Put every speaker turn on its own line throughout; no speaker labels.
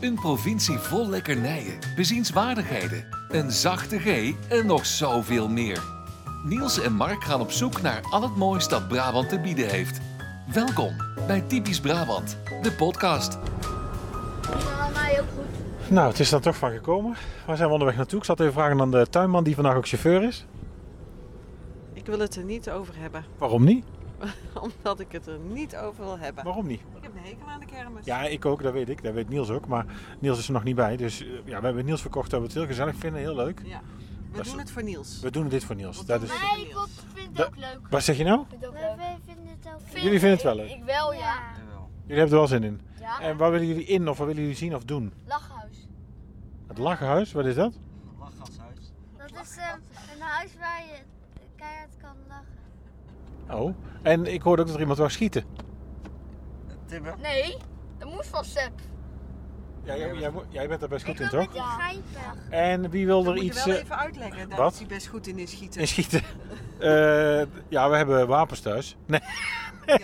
Een provincie vol lekkernijen, bezienswaardigheden, een zachte G en nog zoveel meer. Niels en Mark gaan op zoek naar al het moois dat Brabant te bieden heeft. Welkom bij Typisch Brabant, de podcast.
Maar mij ook goed.
Nou, het is dan toch van gekomen. Waar zijn we onderweg naartoe? Ik zat even vragen aan de tuinman die vandaag ook chauffeur is.
Ik wil het er niet over hebben,
Waarom niet?
omdat ik het er niet over wil hebben.
Waarom niet?
Ik heb een hekel aan de kermis.
Ja, ik ook, dat weet ik. Dat weet Niels ook. Maar Niels is er nog niet bij. Dus eh, ja, we hebben Niels verkocht dat we het heel gezellig vinden. Heel leuk.
Ja. We
Dat is-
doen het voor Niels.
We doen dit voor Niels. Dat is...
Wij vinden het ook leuk.
Wat zeg je nou?
Wij vinden het ook
Jullie vinden het wel leuk.
Ik wel, ja.
Jullie hebben er wel zin in.
Ja,
En waar willen jullie in of wat willen jullie zien of doen?
lachhuis.
Het lachenhuis, wat is dat?
Dat is ehm, een huis waar je keihard kan lachen.
Oh. En ik hoorde ook dat er iemand wou schieten.
Nee, dat moest van Sepp.
Ja, jij, jij moet- jij bent daar best goed in,
Ik wil met
toch?
die geinpijl.
En wie wil
Moet
er
je
iets
wel
eh,
even uitleggen. Daar
wat?
is hij best goed in, is schieten.
in schieten? Eh, ja, we hebben wapens thuis. Nee.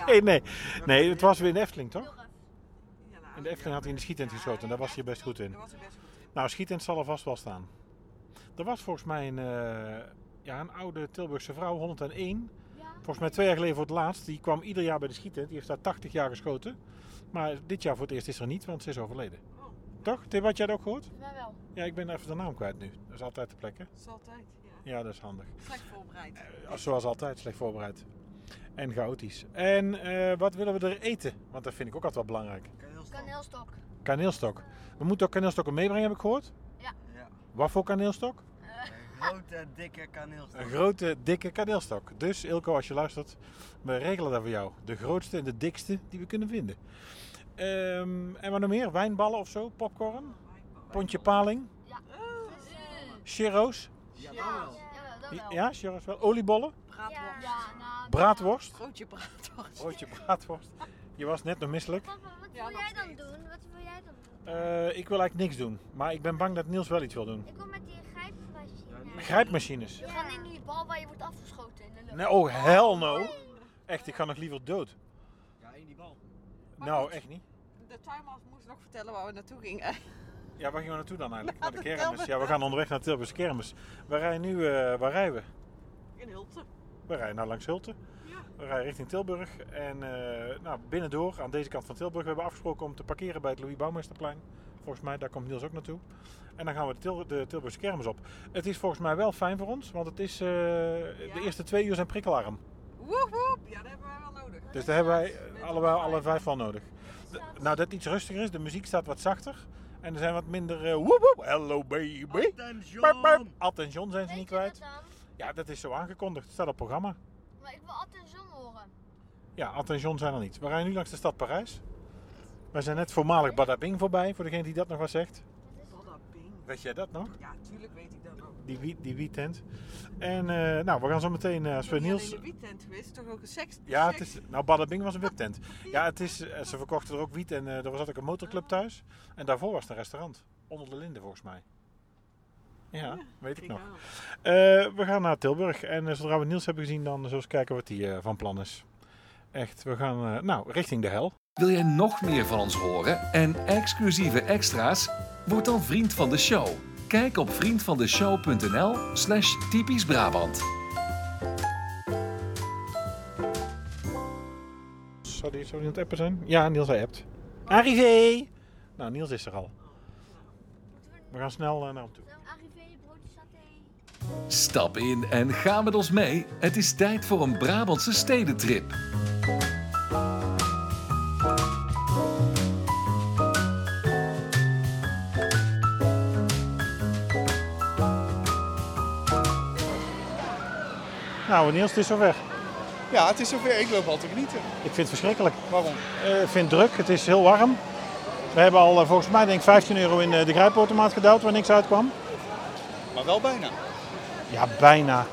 Nee, nee. Nee, het was weer in de Efteling, toch?
Ja, nou,
In de Efteling had hij in de schietent geschoten en daar was hij best goed in.
Daar was hij best goed in.
Nou, schietent zal er vast wel staan. Er was volgens mij een, eh, ja, een oude Tilburgse vrouw, 101. Volgens mij twee jaar geleden voor het laatst. Die kwam ieder jaar bij de schietent. Die heeft daar 80 jaar geschoten. Maar dit jaar voor het eerst is er niet, want ze is overleden. Toch? Tim, had jij dat ook gehoord?
Mij wel.
Ja, ik ben even de naam kwijt nu. Dat is altijd de plek, hè?
Dat is altijd, ja.
Ja, dat is handig.
Slecht voorbereid.
Eh, Zoals altijd, slecht voorbereid. En chaotisch. En eh, wat willen we er eten? Want dat vind ik ook altijd wel belangrijk.
Kaneelstok.
Kaneelstok. We moeten ook kaneelstokken meebrengen, heb ik gehoord.
Ja, Eh,
Wat voor kaneelstok?
een grote, dikke kaneelstok.
Een grote, dikke kaneelstok. Dus Ilko, als je luistert, we regelen dat voor jou. De grootste en de dikste die we kunnen vinden. Ehm, en wat nog meer? Wijnballen of zo? Popcorn? Pontje paling? Churros?
Ja, dat wel.
Ja, dat wel.
Ja, churros wel. Oliebollen?
Braadworst.
Ja, nou,
Braadworst?
Broodje braadworst.
Broodje braadworst. Je was net nog misselijk.
Papa, wat
Ja,
wil
nog
jij dan
steeds.
doen? Wat wil jij dan doen?
Eh, ik wil eigenlijk niks doen. Maar ik ben bang dat Niels wel iets wil doen.
Ik kom met die grijpmachine.
Grijpmachines.
We gaan in die bal waar je wordt afgeschoten in de lucht.
Nee, oh, hell no. Echt, ik ga nog liever dood.
Ja, in die bal.
Nou, echt niet.
De tuinman moest nog vertellen waar we naartoe gingen.
Ja, waar gaan we naartoe dan eigenlijk? Naar de
vertel
kermis.
me.
Ja, we gaan onderweg naar Tilburgse kermis. We rijden nu, eh, waar rijden we?
In Hulten.
We rijden nou langs Hulten.
Ja.
We rijden richting Tilburg. En eh nou, binnendoor, aan deze kant van Tilburg, we hebben afgesproken om te parkeren bij het Louis Bouwmeesterplein. Volgens mij, daar komt Niels ook naartoe. En dan gaan we de, Til- de Tilburgse kermis op. Het is volgens mij wel fijn voor ons, want het is, eh, de eerste twee uur zijn prikkelarm.
Woep woep. Ja, dat hebben wij wel nodig.
Dus daar hebben wij allemaal alle vijf van nodig. De- nou, dat het iets rustiger is, de muziek staat wat zachter. En er zijn wat minder eh woep woep, hello baby. Pap, pap.
Attention!
Attention zijn ze
Weet
niet
je dat
kwijt.
dan?
Ja, dat is zo aangekondigd. Het staat op programma.
Maar ik wil altijd zon horen.
Ja, attention zijn er niet. We rijden nu langs de stad Parijs. We zijn net voormalig Badabing voorbij, voor degene die dat nog wat zegt.
Godda ping.
Weet jij dat nog?
Ja, tuurlijk weet ik dat ook.
Die, wie- die wietent. En eh, nou, we gaan zo meteen eh, als we
Ik ben in
Niels...
de wietent geweest, toch ook een seks.
Ja, het is, nou, Badabing was een wiptent. Ja, het is, eh, ze verkochten er ook wiet en eh, er zat ook een motorclub thuis. En daarvoor was het een restaurant. Onder de linden, volgens mij. Ja, weet ik nog. Eh, we gaan naar Tilburg. En eh, zodra we Niels hebben gezien, dan zullen we eens kijken wat hij eh, van plan is. Echt, we gaan eh, nou, richting de hel.
Wil jij nog meer van ons horen en exclusieve extra's? Word dan vriend van de show. Kijk op vriendvandeshow.nl slash typisch Brabant.
Zou die, zou die aan het appen zijn? Ja, Niels, hij appt. Arrivé! Nou, Niels is er al. We gaan snel eh, naar hem toe.
Arrivé, broodje saté.
Stap in en ga met ons mee. Het is tijd voor een Brabantse stedentrip.
Nou, Niels, het is zover.
Ja, het is zover. Ik loop al te genieten.
Ik vind het verschrikkelijk.
Waarom?
Eh, ik vind het druk, het is heel warm. We hebben al eh, volgens mij denk ik 15 euro in eh, de grijpautomaat gedouwd waar niks uitkwam.
Maar wel bijna.
Ja, bijna.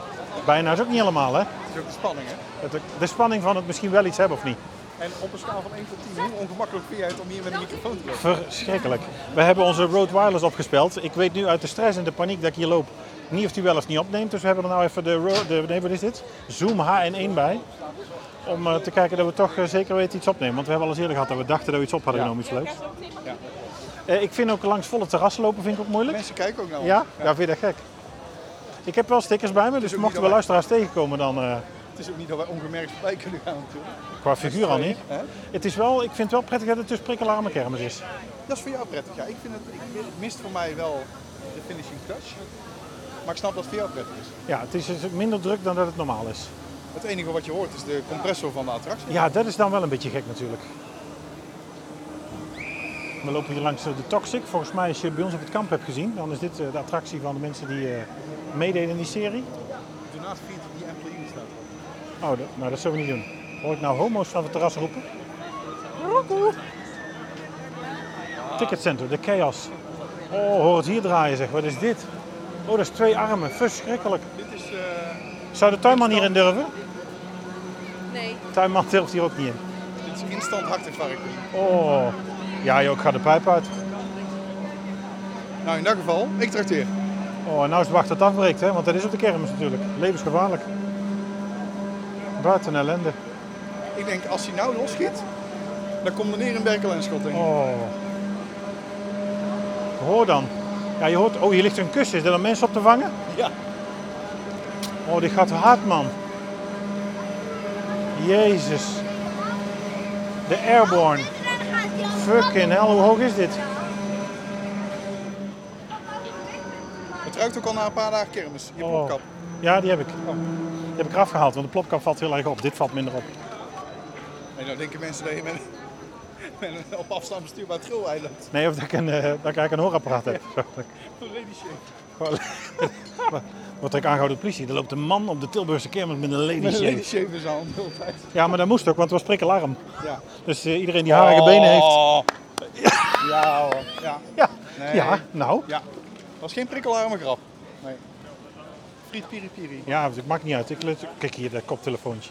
Bijna is ook niet helemaal hè.
Het is ook de spanning, hè?
Het- De spanning van het misschien wel iets hebben of niet.
En op een schaal van 1 tot 10, hoe ongemakkelijk vind jij het om hier met een microfoon te lopen?
Verschrikkelijk. We hebben onze Road Wireless opgespeld. Ik weet nu uit de stress en de paniek dat ik hier loop niet of die wel of niet opneemt. Dus we hebben er nou even de, Ro- de nee, wat is dit? Zoom HN1 bij. Om eh, te kijken dat we toch eh, zeker weten iets opnemen. Want we hebben al eens eerder gehad dat we dachten dat we iets op hadden
Ja.
genomen, iets leuks. Eh, ik vind ook langs volle terrassen lopen vind ik ook moeilijk.
Mensen kijken ook naar ons.
Ja? Ja, vind je dat gek? Ik heb wel stickers bij me, dus
ook
mochten
niet
we
waar.
luisteraars tegenkomen dan eh,
Het is ook niet dat wij ongemerkt voorbij kunnen gaan natuurlijk.
qua figuur al niet.
Hè?
Het is wel, ik vind het wel prettig dat het dus prikkelarme kermis is.
Dat is voor jou prettig. Ja, ik vind het, ik, het mist voor mij wel de finishing touch. Maar ik snap dat het voor jou prettig is.
Ja, het is dus minder druk dan dat het normaal is.
Het enige wat je hoort is de compressor van de attractie.
Ja, dat is dan wel een beetje gek natuurlijk. We lopen hier langs eh, de Toxic. Volgens mij, als je bij ons op het kamp hebt gezien, dan is dit eh, de attractie van de mensen die eh, meededen in die serie.
Do not feed the employee staat erop.
Oh, dat, nou, dat zullen we niet doen. Hoor ik nou homo's van het terras roepen? Ticketcenter, de chaos. Oh, hoor het hier draaien zeg. Wat is dit? Oh, dat is twee armen. Verschrikkelijk.
Dit is... eh,
Zou de tuinman hierin durven?
Nee.
Tuinman durft hier ook niet in.
Dit is instant hartinfarct.
Oh. Ja joh, ik ga de pijp uit.
Nou, in dat geval, ik trakteer.
Oh, en nou is het wacht dat het afbreekt, hè? want dat is op de kermis natuurlijk. Levensgevaarlijk. Buiten ellende.
Ik denk, als hij nou losschiet, dan komt meneer in Berkel en schot, denk ik.
Oh. Hoor dan. Ja, je hoort... Oh, hier ligt een kussen. Is dat om mensen op te vangen?
Ja.
Oh, dit gaat hard, man. Jezus. De Airborne. Fucking hell, hoe hoog is dit?
Het ruikt ook al na een paar dagen kermis. Je
Oh.
plopkap.
Ja, die heb ik.
Oh.
Die heb ik eraf gehaald, want de plopkap valt heel erg op. Dit valt minder op.
En dan denken mensen dat je met, met een op afstand bestuurbaar trilwei loopt.
Nee, of dat ik een, eh, dat ik eigenlijk een hoorapparaat heb. Zo.
Voor lady shit.
Gewoon- Wordt er ook aangehouden door de politie. Er loopt een man op de Tilburgse kermis met een lady
Met een lady
shave.
shave in zijn hand de hele tijd.
Ja, maar dat moest ook, want het was prikkelarm.
Ja.
Dus eh, iedereen die
Oh.
harige benen heeft...
Ja hoor. Ja.
Ja,
Nee.
ja nou.
ja. was geen prikkelarme grap. Nee. Friet piri piri.
Ja, dus het maakt niet uit. Ik let- Kijk hier, dat koptelefoontje.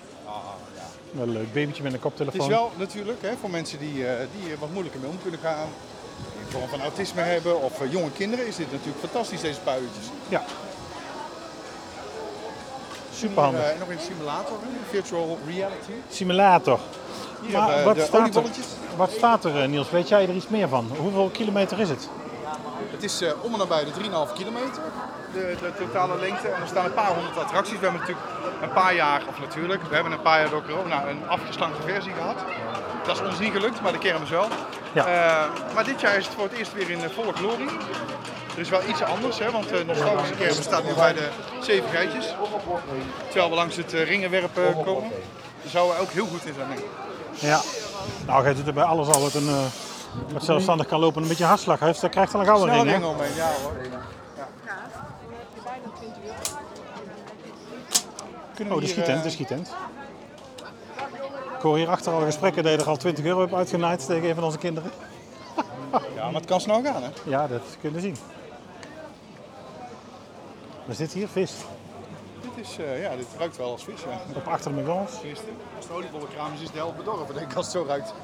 Wel een leuk babytje met een
Ah, Het
koptelefoon.
is wel natuurlijk hè, voor mensen die, eh, die er wat moeilijker mee om kunnen gaan. Die een vorm van autisme hebben of eh, jonge kinderen is dit natuurlijk fantastisch deze puitjes.
Ja. Superhandig.
Hier, eh, nog een simulator, hè, virtual reality.
Simulator.
Hier
Maar
hebben we
wat
de
staat er?
oliebolletjes.
Wat staat er, eh, Niels? Weet jij er iets meer van? Hoeveel kilometer is het?
Het is eh, om en nabij de 3,5 kilometer. De, de totale lengte. En er staan een paar honderd attracties. We hebben natuurlijk een paar jaar, of natuurlijk, we hebben een paar jaar door corona een afgeslankte versie gehad. Dat is ons niet gelukt, maar de kermis wel.
Ja.
Eh, maar dit jaar is het voor het eerst weer in eh, volle glorie. Er is wel iets anders, hè, want de nostalgische kermis staat nu bij de zeven geitjes. Terwijl we langs het eh, ringenwerpen komen. Daar zouden we ook heel goed in zijn, denk ik.
Ja. Nou, jij doet er bij alles al wat een... eh, wat zelfstandig kan lopen en een beetje hartslag heeft, dat krijgt dan een gouden
Snel
ring, hè?
ringen omheen, ja hoor. Kunnen
Oh,
we
de
hier,
schietent,
eh,
de schietent. Ik hoor hierachter al gesprekken dat je er al 20 euro hebt uitgenaaid tegen een van onze kinderen.
Ja, maar het kan snel gaan, hè?
Ja, dat kunnen we zien. Wat is dit hier? Vis.
Dit is, eh, ja, dit ruikt wel als vis, ja.
Op achter de McDonald's.
Gisteren. Als het oliebollenkraam is, is de helft bedorven, denk ik, als het zo ruikt.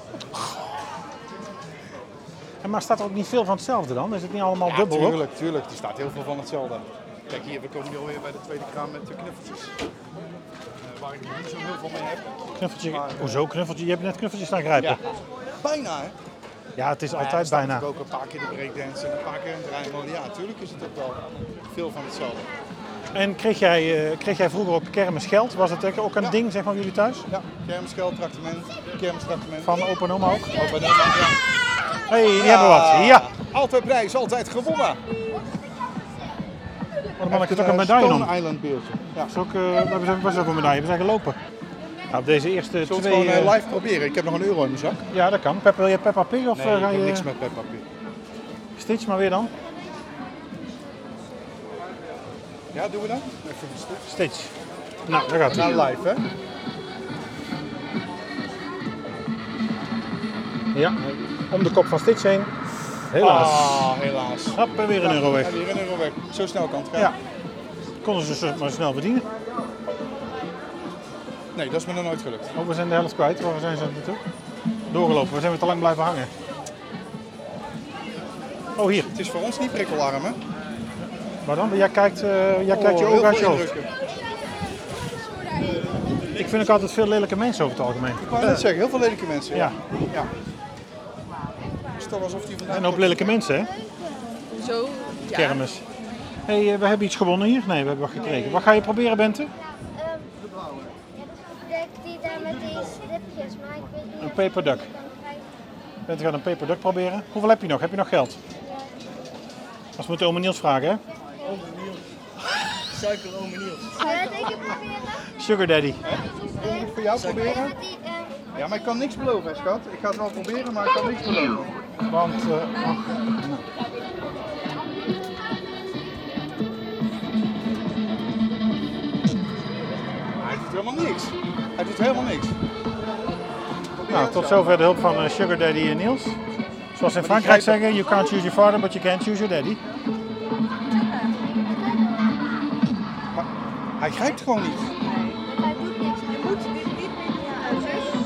En maar staat er ook niet veel van hetzelfde dan? Is het niet allemaal dubbel? op?
tuurlijk, tuurlijk. Er staat heel veel van hetzelfde. Kijk hier, we komen nu alweer bij de tweede kraam met de knuffeltjes. Eh, waar ik nog niet zo heel veel mee heb.
Knuffeltje. Hoezo knuffeltje? Je hebt net knuffeltjes staan grijpen.
eh, Ja.
Ja,
Bijna, hè?
het is
Ja, er
altijd
staat
bijna.
natuurlijk ook een paar keer de breakdance en een paar keer een draaimolen. Ja, natuurlijk is het ook wel veel van hetzelfde.
En kreeg jij, eh, kreeg jij vroeger op kermis geld? Was dat ook een
Ja.
ding zeg maar bij jullie thuis?
Ja, kermisgeld, tractement, kermistractement.
Van opa en oma ook? Hé,
Ook bij de- ja.
hey, die hebben wat. Ja.
Altijd prijs, altijd gewonnen.
Maar dan had ik het ook een medaille om.
Stone Island beertje. Ja.
Eh, Is ook, eh, we hebben best ook een medaille. We zijn gelopen. Nou, op deze eerste
Zullen we
twee...
het gewoon eh,
eh,
live proberen? Ik heb nog een euro in mijn zak.
Ja, dat kan. Pep, wil je Peppa Pig of eh,
ik
ga
heb
je...
niks met Peppa Pig.
Stitch maar weer dan.
Ja, doen we dat? Even een stuk.
Stitch. Nou, daar gaat hij.
Nou, live hè?
Ja, om de kop van Stitch heen. Helaas.
Ah, helaas.
Hop, en weer een euro weg.
Ja, weer een euro weg. Zo snel kan het gaan.
Ja. Konden ze ze maar snel verdienen.
Nee, dat is me nog nooit gelukt.
Oh, we zijn de helft kwijt. Waar zijn ze naartoe? Doorgelopen. We zijn weer te lang blijven hangen. Oh, hier.
Het is voor ons niet prikkelarm, hè?
Maar dan, jij kijkt, eh, jij kijkt je
Oh, heel
ogen uit je
veel
hoofd.
indrukken.
Ik vind ook altijd veel lelijke mensen over het algemeen.
Ik wou net zeggen, heel veel lelijke mensen.
Ja,
ja. Het is toch alsof die vandaag...
en ook lelijke mensen, hè?
Zo, ja.
Kermis. Hé, hey, eh, we hebben iets gewonnen hier? Nee, we hebben wat gekregen. Wat ga je proberen, Bente?
ehm, Ik denk die daar met die stripjes, maar ik weet niet
Een peperduck. Bente gaat een peperduck proberen. Hoeveel heb je nog? Heb je nog geld? Als we moeten oma Niels vragen, hè?
Ome Niels. Suiker Ome Niels.
ik proberen.
Sugar daddy.
Moet ik voor jou proberen?
Met die, ehm,
Ja, maar ik kan niks beloven, hè, schat. Ik ga het wel proberen, maar ik kan niks beloven.
Want... eh, ach.
Hij doet helemaal niks. Hij doet helemaal niks.
Nou, tot zover de hulp van eh, Sugar Daddy en Niels. Zoals ze in Frankrijk zeggen, you can't choose your father, but you can choose your daddy.
Hij grijpt gewoon niet.
Hij doet niks. Je moet dit niet meer doen aan zus.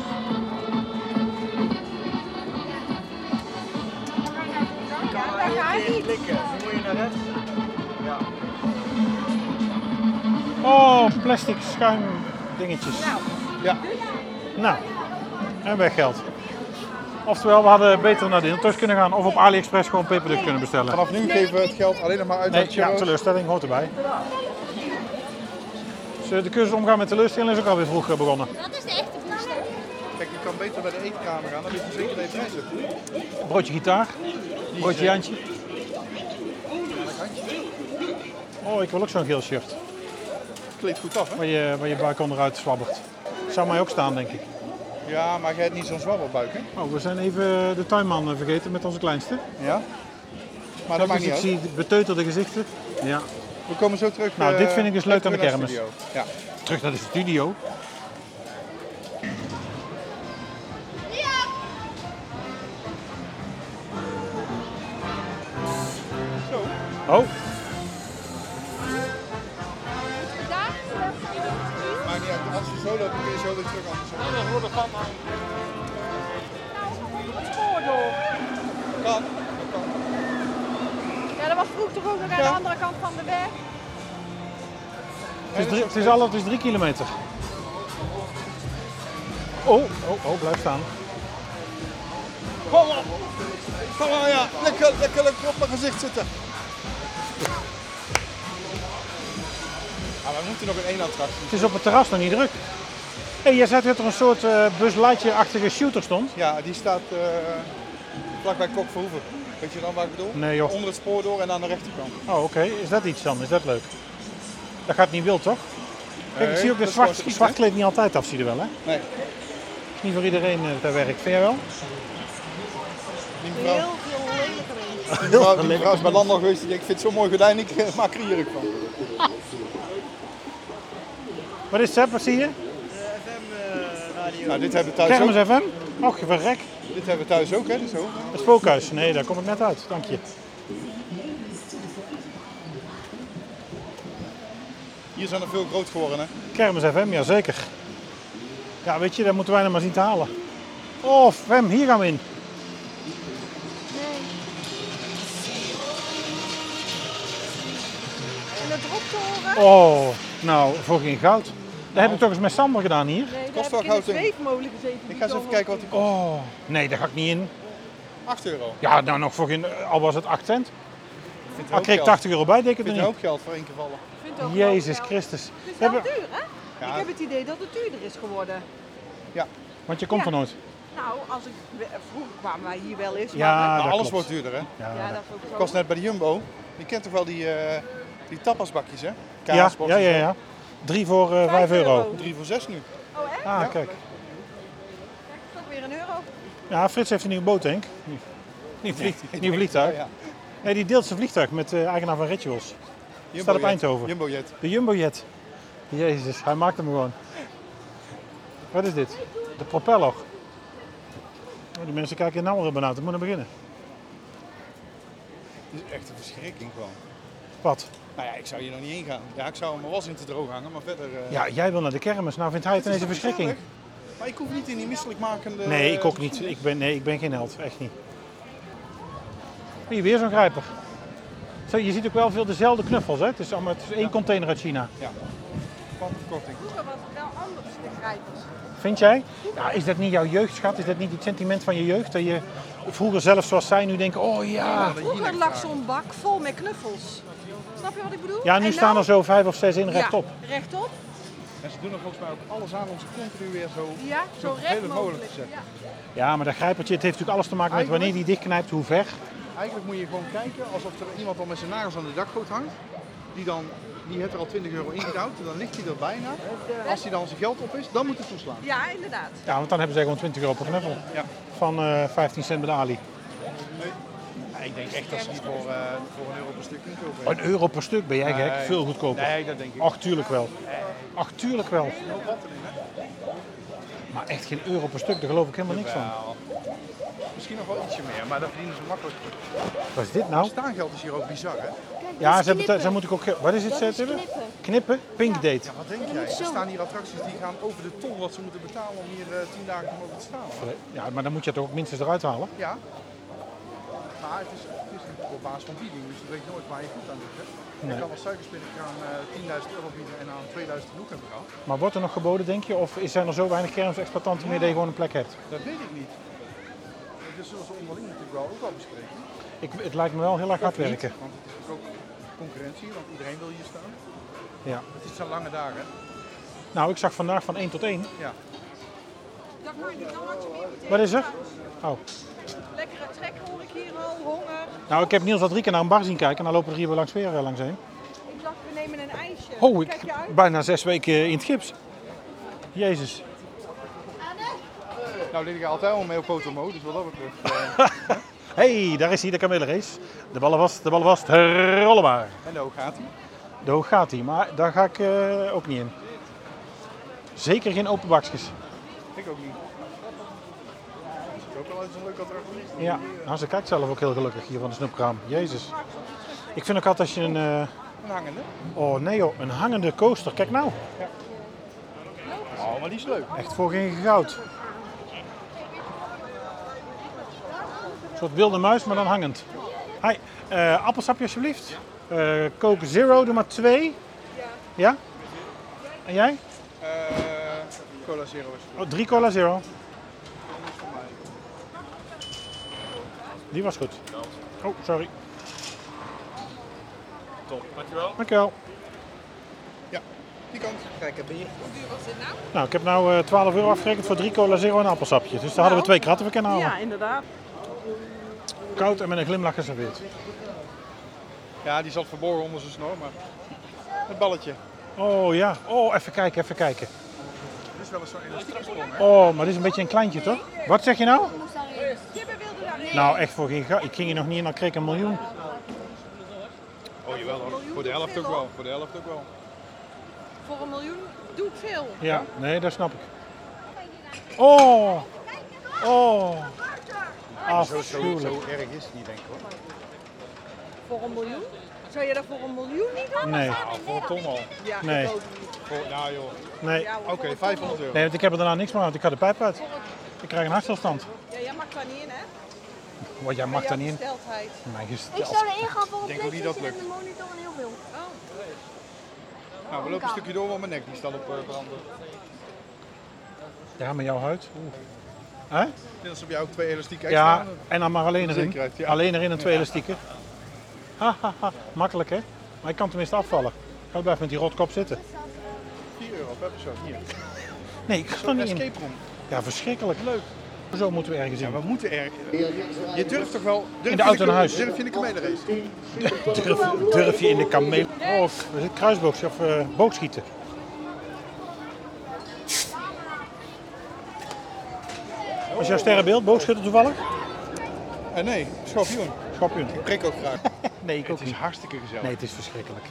Ja, daar ga ik niet.
Klikken. Dan moet je naar rechts. Ja.
Oh, plastic schuim dingetjes.
Ja.
Nou, en weg geld. Oftewel, we hadden beter naar de Intos kunnen gaan of op AliExpress gewoon peperduck kunnen bestellen.
Vanaf nu geven we het geld alleen nog maar uit
Nee,
aan
ja,
churros.
teleurstelling hoort erbij. Dus de cursus omgaan met teleurstelling is ook alweer vroeg eh, begonnen.
Dat is de echte boerster.
Kijk, je kan beter bij de eetkamer gaan, dan weet je zeker dat je prijs hebt.
Broodje gitaar, broodje Jantje. Oh, ik wil ook zo'n geel shirt.
Kleedt goed af, hè?
Waar je, waar je buik onderuit zwabbert. Zou mij ook staan, denk ik.
Ja, maar jij hebt niet zo'n zwabbelbuik, hè?
Oh, we zijn even de tuinman eh, vergeten met onze kleinste.
Ja. Maar dat
Kijk eens,
maakt niet
ik
uit.
zie de beteuterde gezichten. Ja.
We komen zo terug.
Nou,
eh,
dit vind ik dus leuk
terug
aan de
naar
kermis.
studio. Ja.
Terug naar de studio.
Zo.
Oh,
Maakt niet uit. Als je zo loopt, kun je zo weer terug anders. Kan.
Ja, dat was vroeg toch ook nog aan de andere kant van de weg.
het is, drie, het is al, het is drie kilometer. Oh, oh, oh, blijf staan.
Kom op. Kom op, ja. Lekker, lekker, lekker op mijn gezicht zitten. Ah, we moeten nog een één attractie.
Het is op het terras nog niet druk. Hé, jij zei dat er een soort eh buslightje-achtige shooter stond.
Ja, die staat eh vlakbij Kokverhoeven. Weet je dan waar ik bedoel?
Nee, joh.
Onder het spoor door en aan de rechterkant.
Oh, oké. Is dat iets dan? Is dat leuk? Dat gaat niet wild, toch? Kijk, ik
Nee,
zie ook
dat
dat
is
zwart,
gewoon schieten,
zwart kleed niet altijd af, zie je wel, hè?
Nee,
Is niet voor iedereen eh, dat werkt. Vind jij wel?
die
Heel
mevrouw,
veel lelijke mensen.
die mevrouw, die
lelijk.
mevrouw is bij Landal geweest. Die denkt, ik vind het zo'n mooi gordijn, ik eh, maak er jurk van.
Wat is het, Wat zie je?
De FM eh, radio.
Nou, dit hebben we thuis
Kermis
ook.
FM? Och, verrek.
Dit hebben we thuis ook, hè? Zo.
Het spookhuis. Nee, daar kom ik net uit. Dank je.
Hier zijn er veel groot geworden, hè?
Kermis FM, jazeker. Ja, weet je, dat moeten wij nog maar zien te halen. Oh, Fem, hier gaan we in.
En de droptoren. Nou.
Oh, nou, voor geen goud. Dat heb ik toch eens met Sander gedaan hier.
Nee, daar heb
kost wel
ik in de
goud, denk ik.
zweefmolen gezeten.
Ik ga eens even kijken wat die kost.
Oh, nee, daar ga ik niet in.
8 euro.
Ja, nou nog voor geen, al was het 8 cent.
Ik vind
Ah, kreeg ik 80 euro bij, denk ik
Ik
er
vind een
niet.
hoop geld voor één keer vallen.
Jezus Christus.
Het is wel
Hebben-
duur, hè?
Ja.
Ik heb het idee dat het duurder is geworden.
Want je komt
Ja.
er nooit.
Nou, als ik, vroeger kwamen wij hier wel eens.
Ja,
maar-
Nou,
dat
alles
klopt.
wordt duurder, hè?
ja,
dat-
dat is ook zo.
Ik was net bij de Jumbo. Je kent toch wel die, eh, die tapasbakjes, hè?
ja,
Kaasbox
ja,
en
ja,
zo.
ja. Drie voor eh 5 euro.
euro.
3 voor 6 nu.
Oh, echt?
Ah,
Ja.
kijk.
Krijg ik toch weer een euro?
Ja, Frits heeft een nieuwe boot, denk ik. Nieuw- Nieuw, vlieg, nieuw vliegtuig.
Ja, ja.
Nee, die deelt zijn vliegtuig met de eigenaar van Rituals.
Jumbo
Staat op
Jet.
Eindhoven.
Jumbo Jet.
De Jumbojet. Jezus, hij maakt hem gewoon. Wat is dit? De propeller. Oh, die mensen kijken nauwer benauwd. We moeten beginnen.
Dat is echt een verschrikking gewoon.
Wat?
Nou ja, ik zou hier nog niet heen gaan. Ja, ik zou mijn was in te droog hangen, maar verder... eh,
Ja, jij wil naar de kermis. Nou vindt hij het
het is
ineens een
toch
verschrikking.
gezellig? Maar ik hoef niet in die misselijkmakende...
Nee, ik ook niet.
stoel.
Ik ben, nee, ik ben geen held. Echt niet. Hier, weer zo'n grijper. Zo, je ziet ook wel veel dezelfde knuffels. Hè? Het, is allemaal, het is één container uit China.
Van korting.
Vroeger was het wel anders, de grijpers.
Vind jij? Ja, is dat niet jouw jeugdschat? Is dat niet het sentiment van je jeugd? Dat je vroeger zelf zoals zij nu denken, oh ja.
Vroeger lag zo'n bak vol met knuffels. Snap je wat ik bedoel?
Ja,
En
nu
nou-
staan er zo vijf of zes in rechtop.
Ja, rechtop.
En ze doen er volgens mij ook alles aan om ze continu weer zo...
Ja, zo recht
mogelijk
mogelijk.
te zetten.
Ja.
Ja, maar dat grijpertje, het heeft natuurlijk alles te maken met wanneer die dichtknijpt, hoe ver.
Eigenlijk moet je gewoon kijken alsof er iemand al met zijn nagels aan de dakgoot hangt. Die dan, die heeft er al 20 euro ingedouwd en dan ligt hij er bijna. Als hij dan zijn geld op is, dan moet hij toeslaan.
ja, inderdaad.
Ja, want dan hebben zij gewoon 20 euro per knuffel.
Ja.
Van eh, 15 cent bij de Ali.
ik denk echt dat ze die voor, eh, voor een euro per stuk niet kopen.
Een euro per stuk ben jij gek.
Nee.
Veel goedkoper.
Nee, dat denk ik.
Ach, tuurlijk wel. Ach, tuurlijk wel. Maar echt geen euro per stuk, daar geloof ik helemaal niks van.
Wel, Misschien nog wel ietsje meer, maar dat verdienen ze makkelijk.
Wat is dit nou?
Staangeld is hier ook bizar, hè?
Ja, ze hebben, het- ze moet ik ook... ge- Wat is het, Seb? Knippen. knippen? Pink date.
Ja, wat denk jij? Er staan hier attracties die gaan over de ton wat ze moeten betalen om hier eh 10 dagen te mogen te staan. hoor.
Ja, maar dan moet je het toch ook minstens eruit halen?
Ja. Maar het is, het is natuurlijk op basis van bieding, dus je weet nooit waar je goed aan doet. Hè?
Nee.
Je kan als suikerspinnenkraan eh 10.000 euro bieden en aan 2.000 genoeg hebben gehad.
Maar wordt er nog geboden, denk je? Of zijn er zo weinig kermisexploitanten meer dat je gewoon een plek hebt?
Dat weet ik niet. Dat zullen ze onderling natuurlijk wel ook al bespreken.
Ik, het lijkt me wel heel erg hard
Of niet,
werken.
Want het is natuurlijk ook concurrentie, want iedereen wil hier staan.
Ja.
Het is een lange dag, hè?
Nou, ik zag vandaag van 1 tot 1.
Ja.
Dat maakt niet dan wat je meer meteen
Wat is er?
trouwens.
Oh.
Lekkere trek hoor ik hier al, honger.
Nou, ik heb Niels al drie keer naar een bar zien kijken en dan lopen er hier weer langs weer eh, langs heen.
Ik dacht, we nemen een ijsje.
Oh, ik
Kijk je uit?
bijna zes weken eh, in het gips. Jezus.
Nou, dit ik altijd al mee op Potomo, dus wat dat betreft. eh,
Hé, hey, daar is hij, de Camille-race. De ballen vast, de ballen vast, rollen maar.
en ook gaat hij.
De hoog gaat hij, maar daar ga ik eh, ook niet in. Zeker geen open bakjes.
Ik ook niet. Dat is ook wel eens een leuk attractie.
Ja, nou, ze kijkt zelf ook heel gelukkig hier van de snoepkraam. Jezus. Ik vind ook altijd als je een... eh,
Een hangende.
oh nee joh, een hangende coaster. Kijk nou,
Oh, maar die is leuk.
echt voor geen goud. Een soort wilde muis, maar dan hangend. Hi, eh, appelsapje alsjeblieft. Eh Coke Zero, doe maar twee. Ja? En jij?
Eh Cola Zero is
Oh, drie cola zero. Die was goed. Oh, sorry. Top, dankjewel. Dankjewel.
Die kant. Kijk, heb je.
Nou, ik heb nou eh 12 euro afgerekend voor drie cola zero en een appelsapje. Dus daar hadden we twee kratten voor kunnen halen.
Ja, inderdaad.
Koud en met een glimlach geserveerd.
Ja, die zat verborgen onder zijn snor, maar... Het balletje.
Oh ja, oh even kijken, even kijken.
Dit is wel eens zo'n elastieke sprong, hè?
Oh, maar dit is een beetje een kleintje toch? Wat zeg je nou?
Moest daarin.
Kibben wilde daar niet.
Nou, echt voor geen ga. Ik ging hier nog niet in, dan kreeg ik een miljoen.
Oh, jawel hoor. Voor de helft ook wel. Voor de helft ook wel.
Voor een miljoen doe ik veel.
Ja, nee, dat snap ik. Oh, oh. Afschuwelijk.
erg is het niet, denk ik hoor.
Voor een miljoen? Zou je dat voor een miljoen niet doen?
Nee,
Nou, voor een ton al.
Ja, ik
Nee.
ook niet.
Voor, nou joh.
nee.
Ja, hoor,
Oké,
voor een
500 euro.
Nee, want ik heb er daarna niks meer aan, want ik ga de pijp uit. Ik krijg een hartstilstand.
ton. Ja, jij mag daar niet in, hè?
Want jij mag
Bij
daar
jouw
niet in.
gesteldheid.
Mijn
Ik
gesteld.
zou erin gaan voor een
denk ook niet dat
PlayStation en
lukt.
de monitor en heel veel.
Nou, we lopen een stukje door, want mijn nek die staat op eh, branden.
Ja, met jouw huid. Oeh. Hè?
Dit is op jou ook twee elastieken extra.
Ja, en dan maar alleen erin.
Zekerheid, ja.
Alleen erin en twee elastieken. Ha, ha, ha. Makkelijk hè? Maar ik kan tenminste afvallen. Ik blijf met die rotkop zitten.
4 euro per persoon. Hier.
Nee, ik ga er
Zo'n
niet in.
escape room.
Ja, verschrikkelijk. Leuk. Zo moeten we ergens
Ja,
in.
we moeten er. Je durft toch wel. Durf je
auto naar huis.
Durf je de kamelenrace?
Durf, durf je in de kameel... Oh, Of kruisboog of eh, boogschieten. Was jouw sterrenbeeld boogschutter toevallig?
Eh, nee, schorpioen.
Schorpioen.
Ik prik ook graag.
Nee, ik ook
Het is
niet.
hartstikke gezellig.
Nee, het is verschrikkelijk.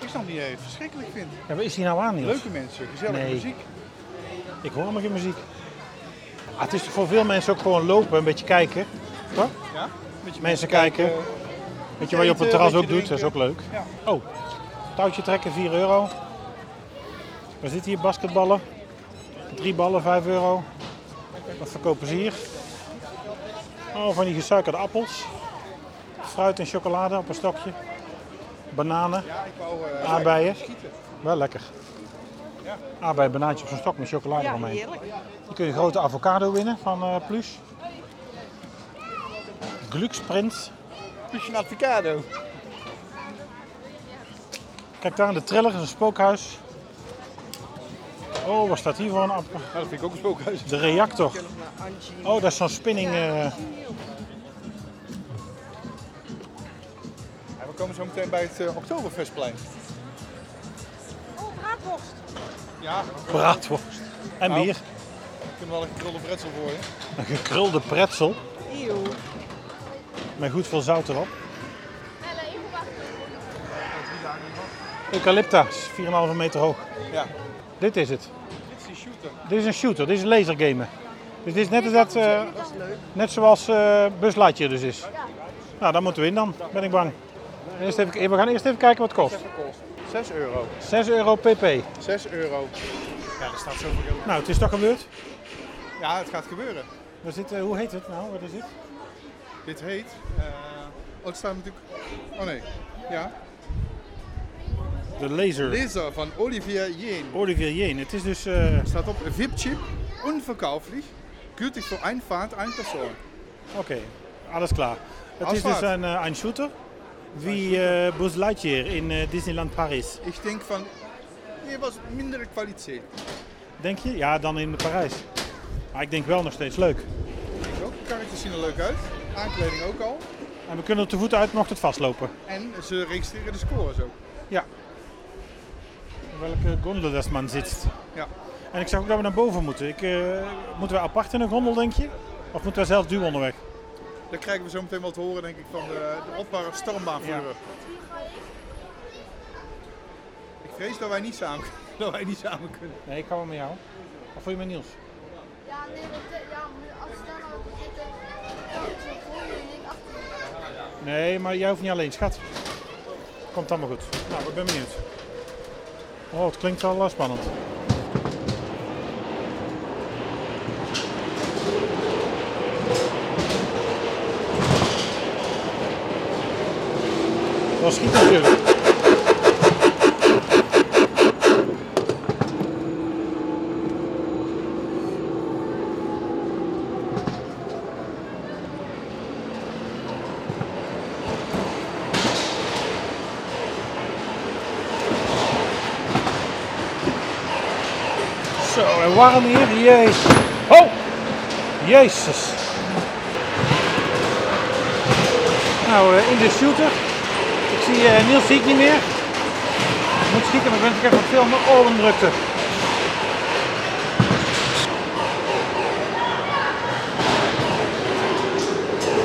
Ik snap niet dat je het verschrikkelijk vindt.
Ja, wat is hier nou aan, Niels?
Leuke mensen, gezellige
Nee.
muziek.
Ik hoor helemaal geen muziek. Ah, het is voor veel mensen ook gewoon lopen, een beetje kijken. Toch?
Ja?
Mensen kijken.
eh,
Een Weet je wat je op het
eten,
terras ook
beetje
doet? Dat is ook
drinken.
leuk. Oh, touwtje trekken, 4 euro. Waar zit hier? Basketballen. Drie ballen, 5 euro. Wat verkopen ze hier? Oh, van die gesuikerde appels. Fruit en chocolade op een stokje. Bananen,
Ja, ik wou eh,
aardbeien.
schieten.
Wel lekker. Aardbei, banaantje op zo'n stok met chocolade
Ja,
eromheen.
heerlijk.
Je kunt een grote avocado winnen van eh Plus. Glucksprint.
Plus een avocado.
Nou,
Kijk daar in de triller, dat is een spookhuis. Oh, wat staat hier voor een app?
Nou, dat vind ik ook een spookhuis.
De reactor. Oh, dat is zo'n spinning. eh,
Ja, we komen zo meteen bij het eh, Oktoberfestplein.
Oh, braadworst.
Ja, we
braadworst. En
Nou.
bier.
kunnen wel een gekrulde pretzel voor je.
Een gekrulde pretzel.
Eeuw.
Met goed veel zout erop. Eucalypta, is 4,5 meter hoog.
Ja.
Dit is het.
Dit is die shooter.
Dit is een shooter, dit is lasergamen. Dus dit is net, als dat, eh,
Dat is leuk.
net zoals eh buslatje dus is. Nou, dan moeten we in dan, ben ik bang. Eerst even, we gaan eerst even kijken wat het kost.
6 euro.
6 euro pp.
6 euro. Ja, er staat zoveel geld.
Nou, het is toch gebeurd.
Ja, het gaat gebeuren.
We zitten, hoe heet het nou? Wat is dit?
Dit heet... eh, oh, het staat natuurlijk... Oh nee. Ja.
De laser.
Laser van Olivier Jeen.
Olivier Jeen. Het is dus... eh,
Er staat op VIP-chip, onverkauflich, gültig voor één Fahrt, één persoon.
Oké, alles klaar. Het
Alles
is dus
klaar.
een, eh, een shooter. Wie eh Buzz Lightyear in eh, Disneyland Paris.
Ik denk van, nee, was mindere kwaliteit.
Denk je? Ja, dan in Parijs. Maar ik denk wel nog steeds leuk.
Ook de karretjes zien er leuk uit, aankleding ook al.
En we kunnen er te voet uit mocht het vastlopen.
En ze registreren de scores ook.
In welke gondel dat man zit.
Ja.
En ik zag ook dat we naar boven moeten. Ik, eh, moeten we apart in een gondel, denk je? Of moeten we zelf duw onderweg?
Dan krijgen we zo meteen wat te horen, denk ik, van de, de opbare stormbaanvoerder. Ik vrees dat wij niet samen, dat wij niet samen kunnen.
Nee, ik ga wel met jou. Of voor je met Niels?
Ja, nee, want eh, ja, als ik daar nou op zit, dan is het voor je en ik achter je.
Nee, maar jij hoeft niet alleen, schat. Komt allemaal goed. Nou, ik ben benieuwd. Oh, het klinkt al eh, spannend. Dat schiet natuurlijk. Zo, en warm hier. Jezus. Oh! Jezus. Nou, eh, in de shooter. Ik zie eh, Niels zie ik niet meer. Ik moet schieten, maar ik ben het even aan het filmen. Oh, een drukte.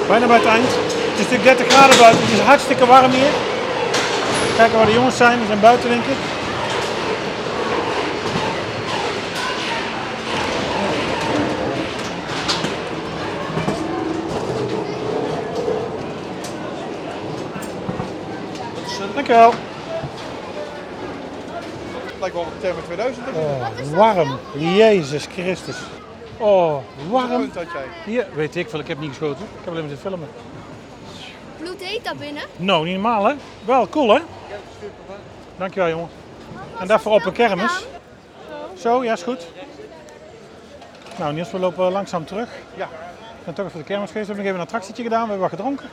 Bijna bij het eind. Het is natuurlijk 30 graden buiten. Het is hartstikke warm hier. Kijken waar de jongens zijn. We zijn buiten, denk ik. Dankjewel.
Het lijkt wel op termen 2000. dat is
Oh, warm. Jezus Christus. Oh,
het
warm.
punt dat jij.
Hier, weet ik veel, ik heb niet geschoten. Ik heb alleen maar zitten filmen.
Bloed heet daar binnen.
Nou, niet normaal hè? Wel, cool hè? Dankjewel jongen. En daarvoor op een kermis. Zo, ja is goed. Nou Niels, we lopen langzaam terug.
Ja.
We zijn toch even de kermis geweest. We hebben nog even een attractietje gedaan, we hebben wat gedronken.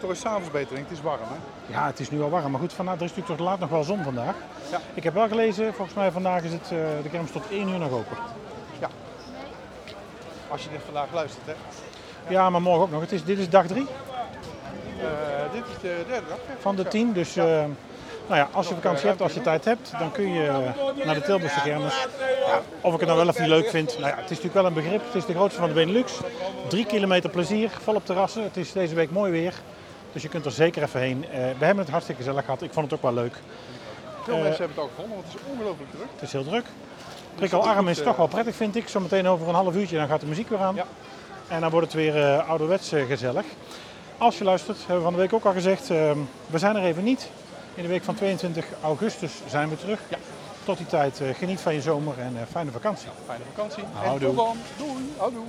Toch is s'avonds beter, denk ik. Het is warm, hè?
Ja, het is nu al warm, maar goed, vandaag, er is natuurlijk tot laat nog wel zon vandaag.
Ja.
Ik heb wel gelezen, volgens mij vandaag is het, eh, de kermis tot 1 uur nog open.
Als je dit vandaag luistert, hè.
Ja, maar morgen ook nog. Het is, dit is dag 3.
Eh, dit is de derde dag, hè?
van de
Ja.
10. Dus eh, nou ja, als je vakantie hebt, als je tijd hebt, dan kun je eh, naar de Tilburgse kermis. Ja, of ik het nou wel of niet leuk vind. Nou ja, het is natuurlijk wel een begrip. Het is de grootste van de Benelux. Drie kilometer plezier, volop terrassen. Het is deze week mooi weer. Dus je kunt er zeker even heen. Eh, we hebben het hartstikke gezellig gehad. Ik vond het ook wel leuk.
Veel
eh,
mensen hebben het ook gevonden, want het is ongelooflijk druk.
Het is heel druk. Prikkelarm is toch wel prettig, vind ik. Zometeen over een half uurtje, dan gaat de muziek weer aan.
Ja.
En dan wordt het weer eh, ouderwets eh, gezellig. Als je luistert, hebben we van de week ook al gezegd, ehm, we zijn er even niet. In de week van 22 augustus zijn we terug. Tot die tijd, eh, geniet van je zomer en eh, fijne vakantie.
Fijne vakantie.
Houdoe.
En tot dan. Doei. Houdoe.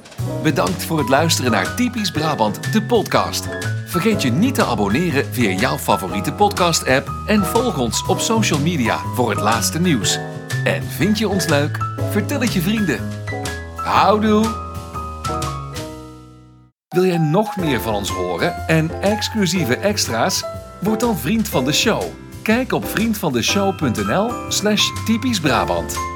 Bedankt voor het luisteren naar Typisch Brabant, de podcast. Vergeet je niet te abonneren via jouw favoriete podcast-app en volg ons op social media voor het laatste nieuws. En vind je ons leuk? Vertel het je vrienden. Houdoe! Wil jij nog meer van ons horen en exclusieve extra's? Word dan vriend van de show. Kijk op vriendvandeshow.nl slash typisch Brabant.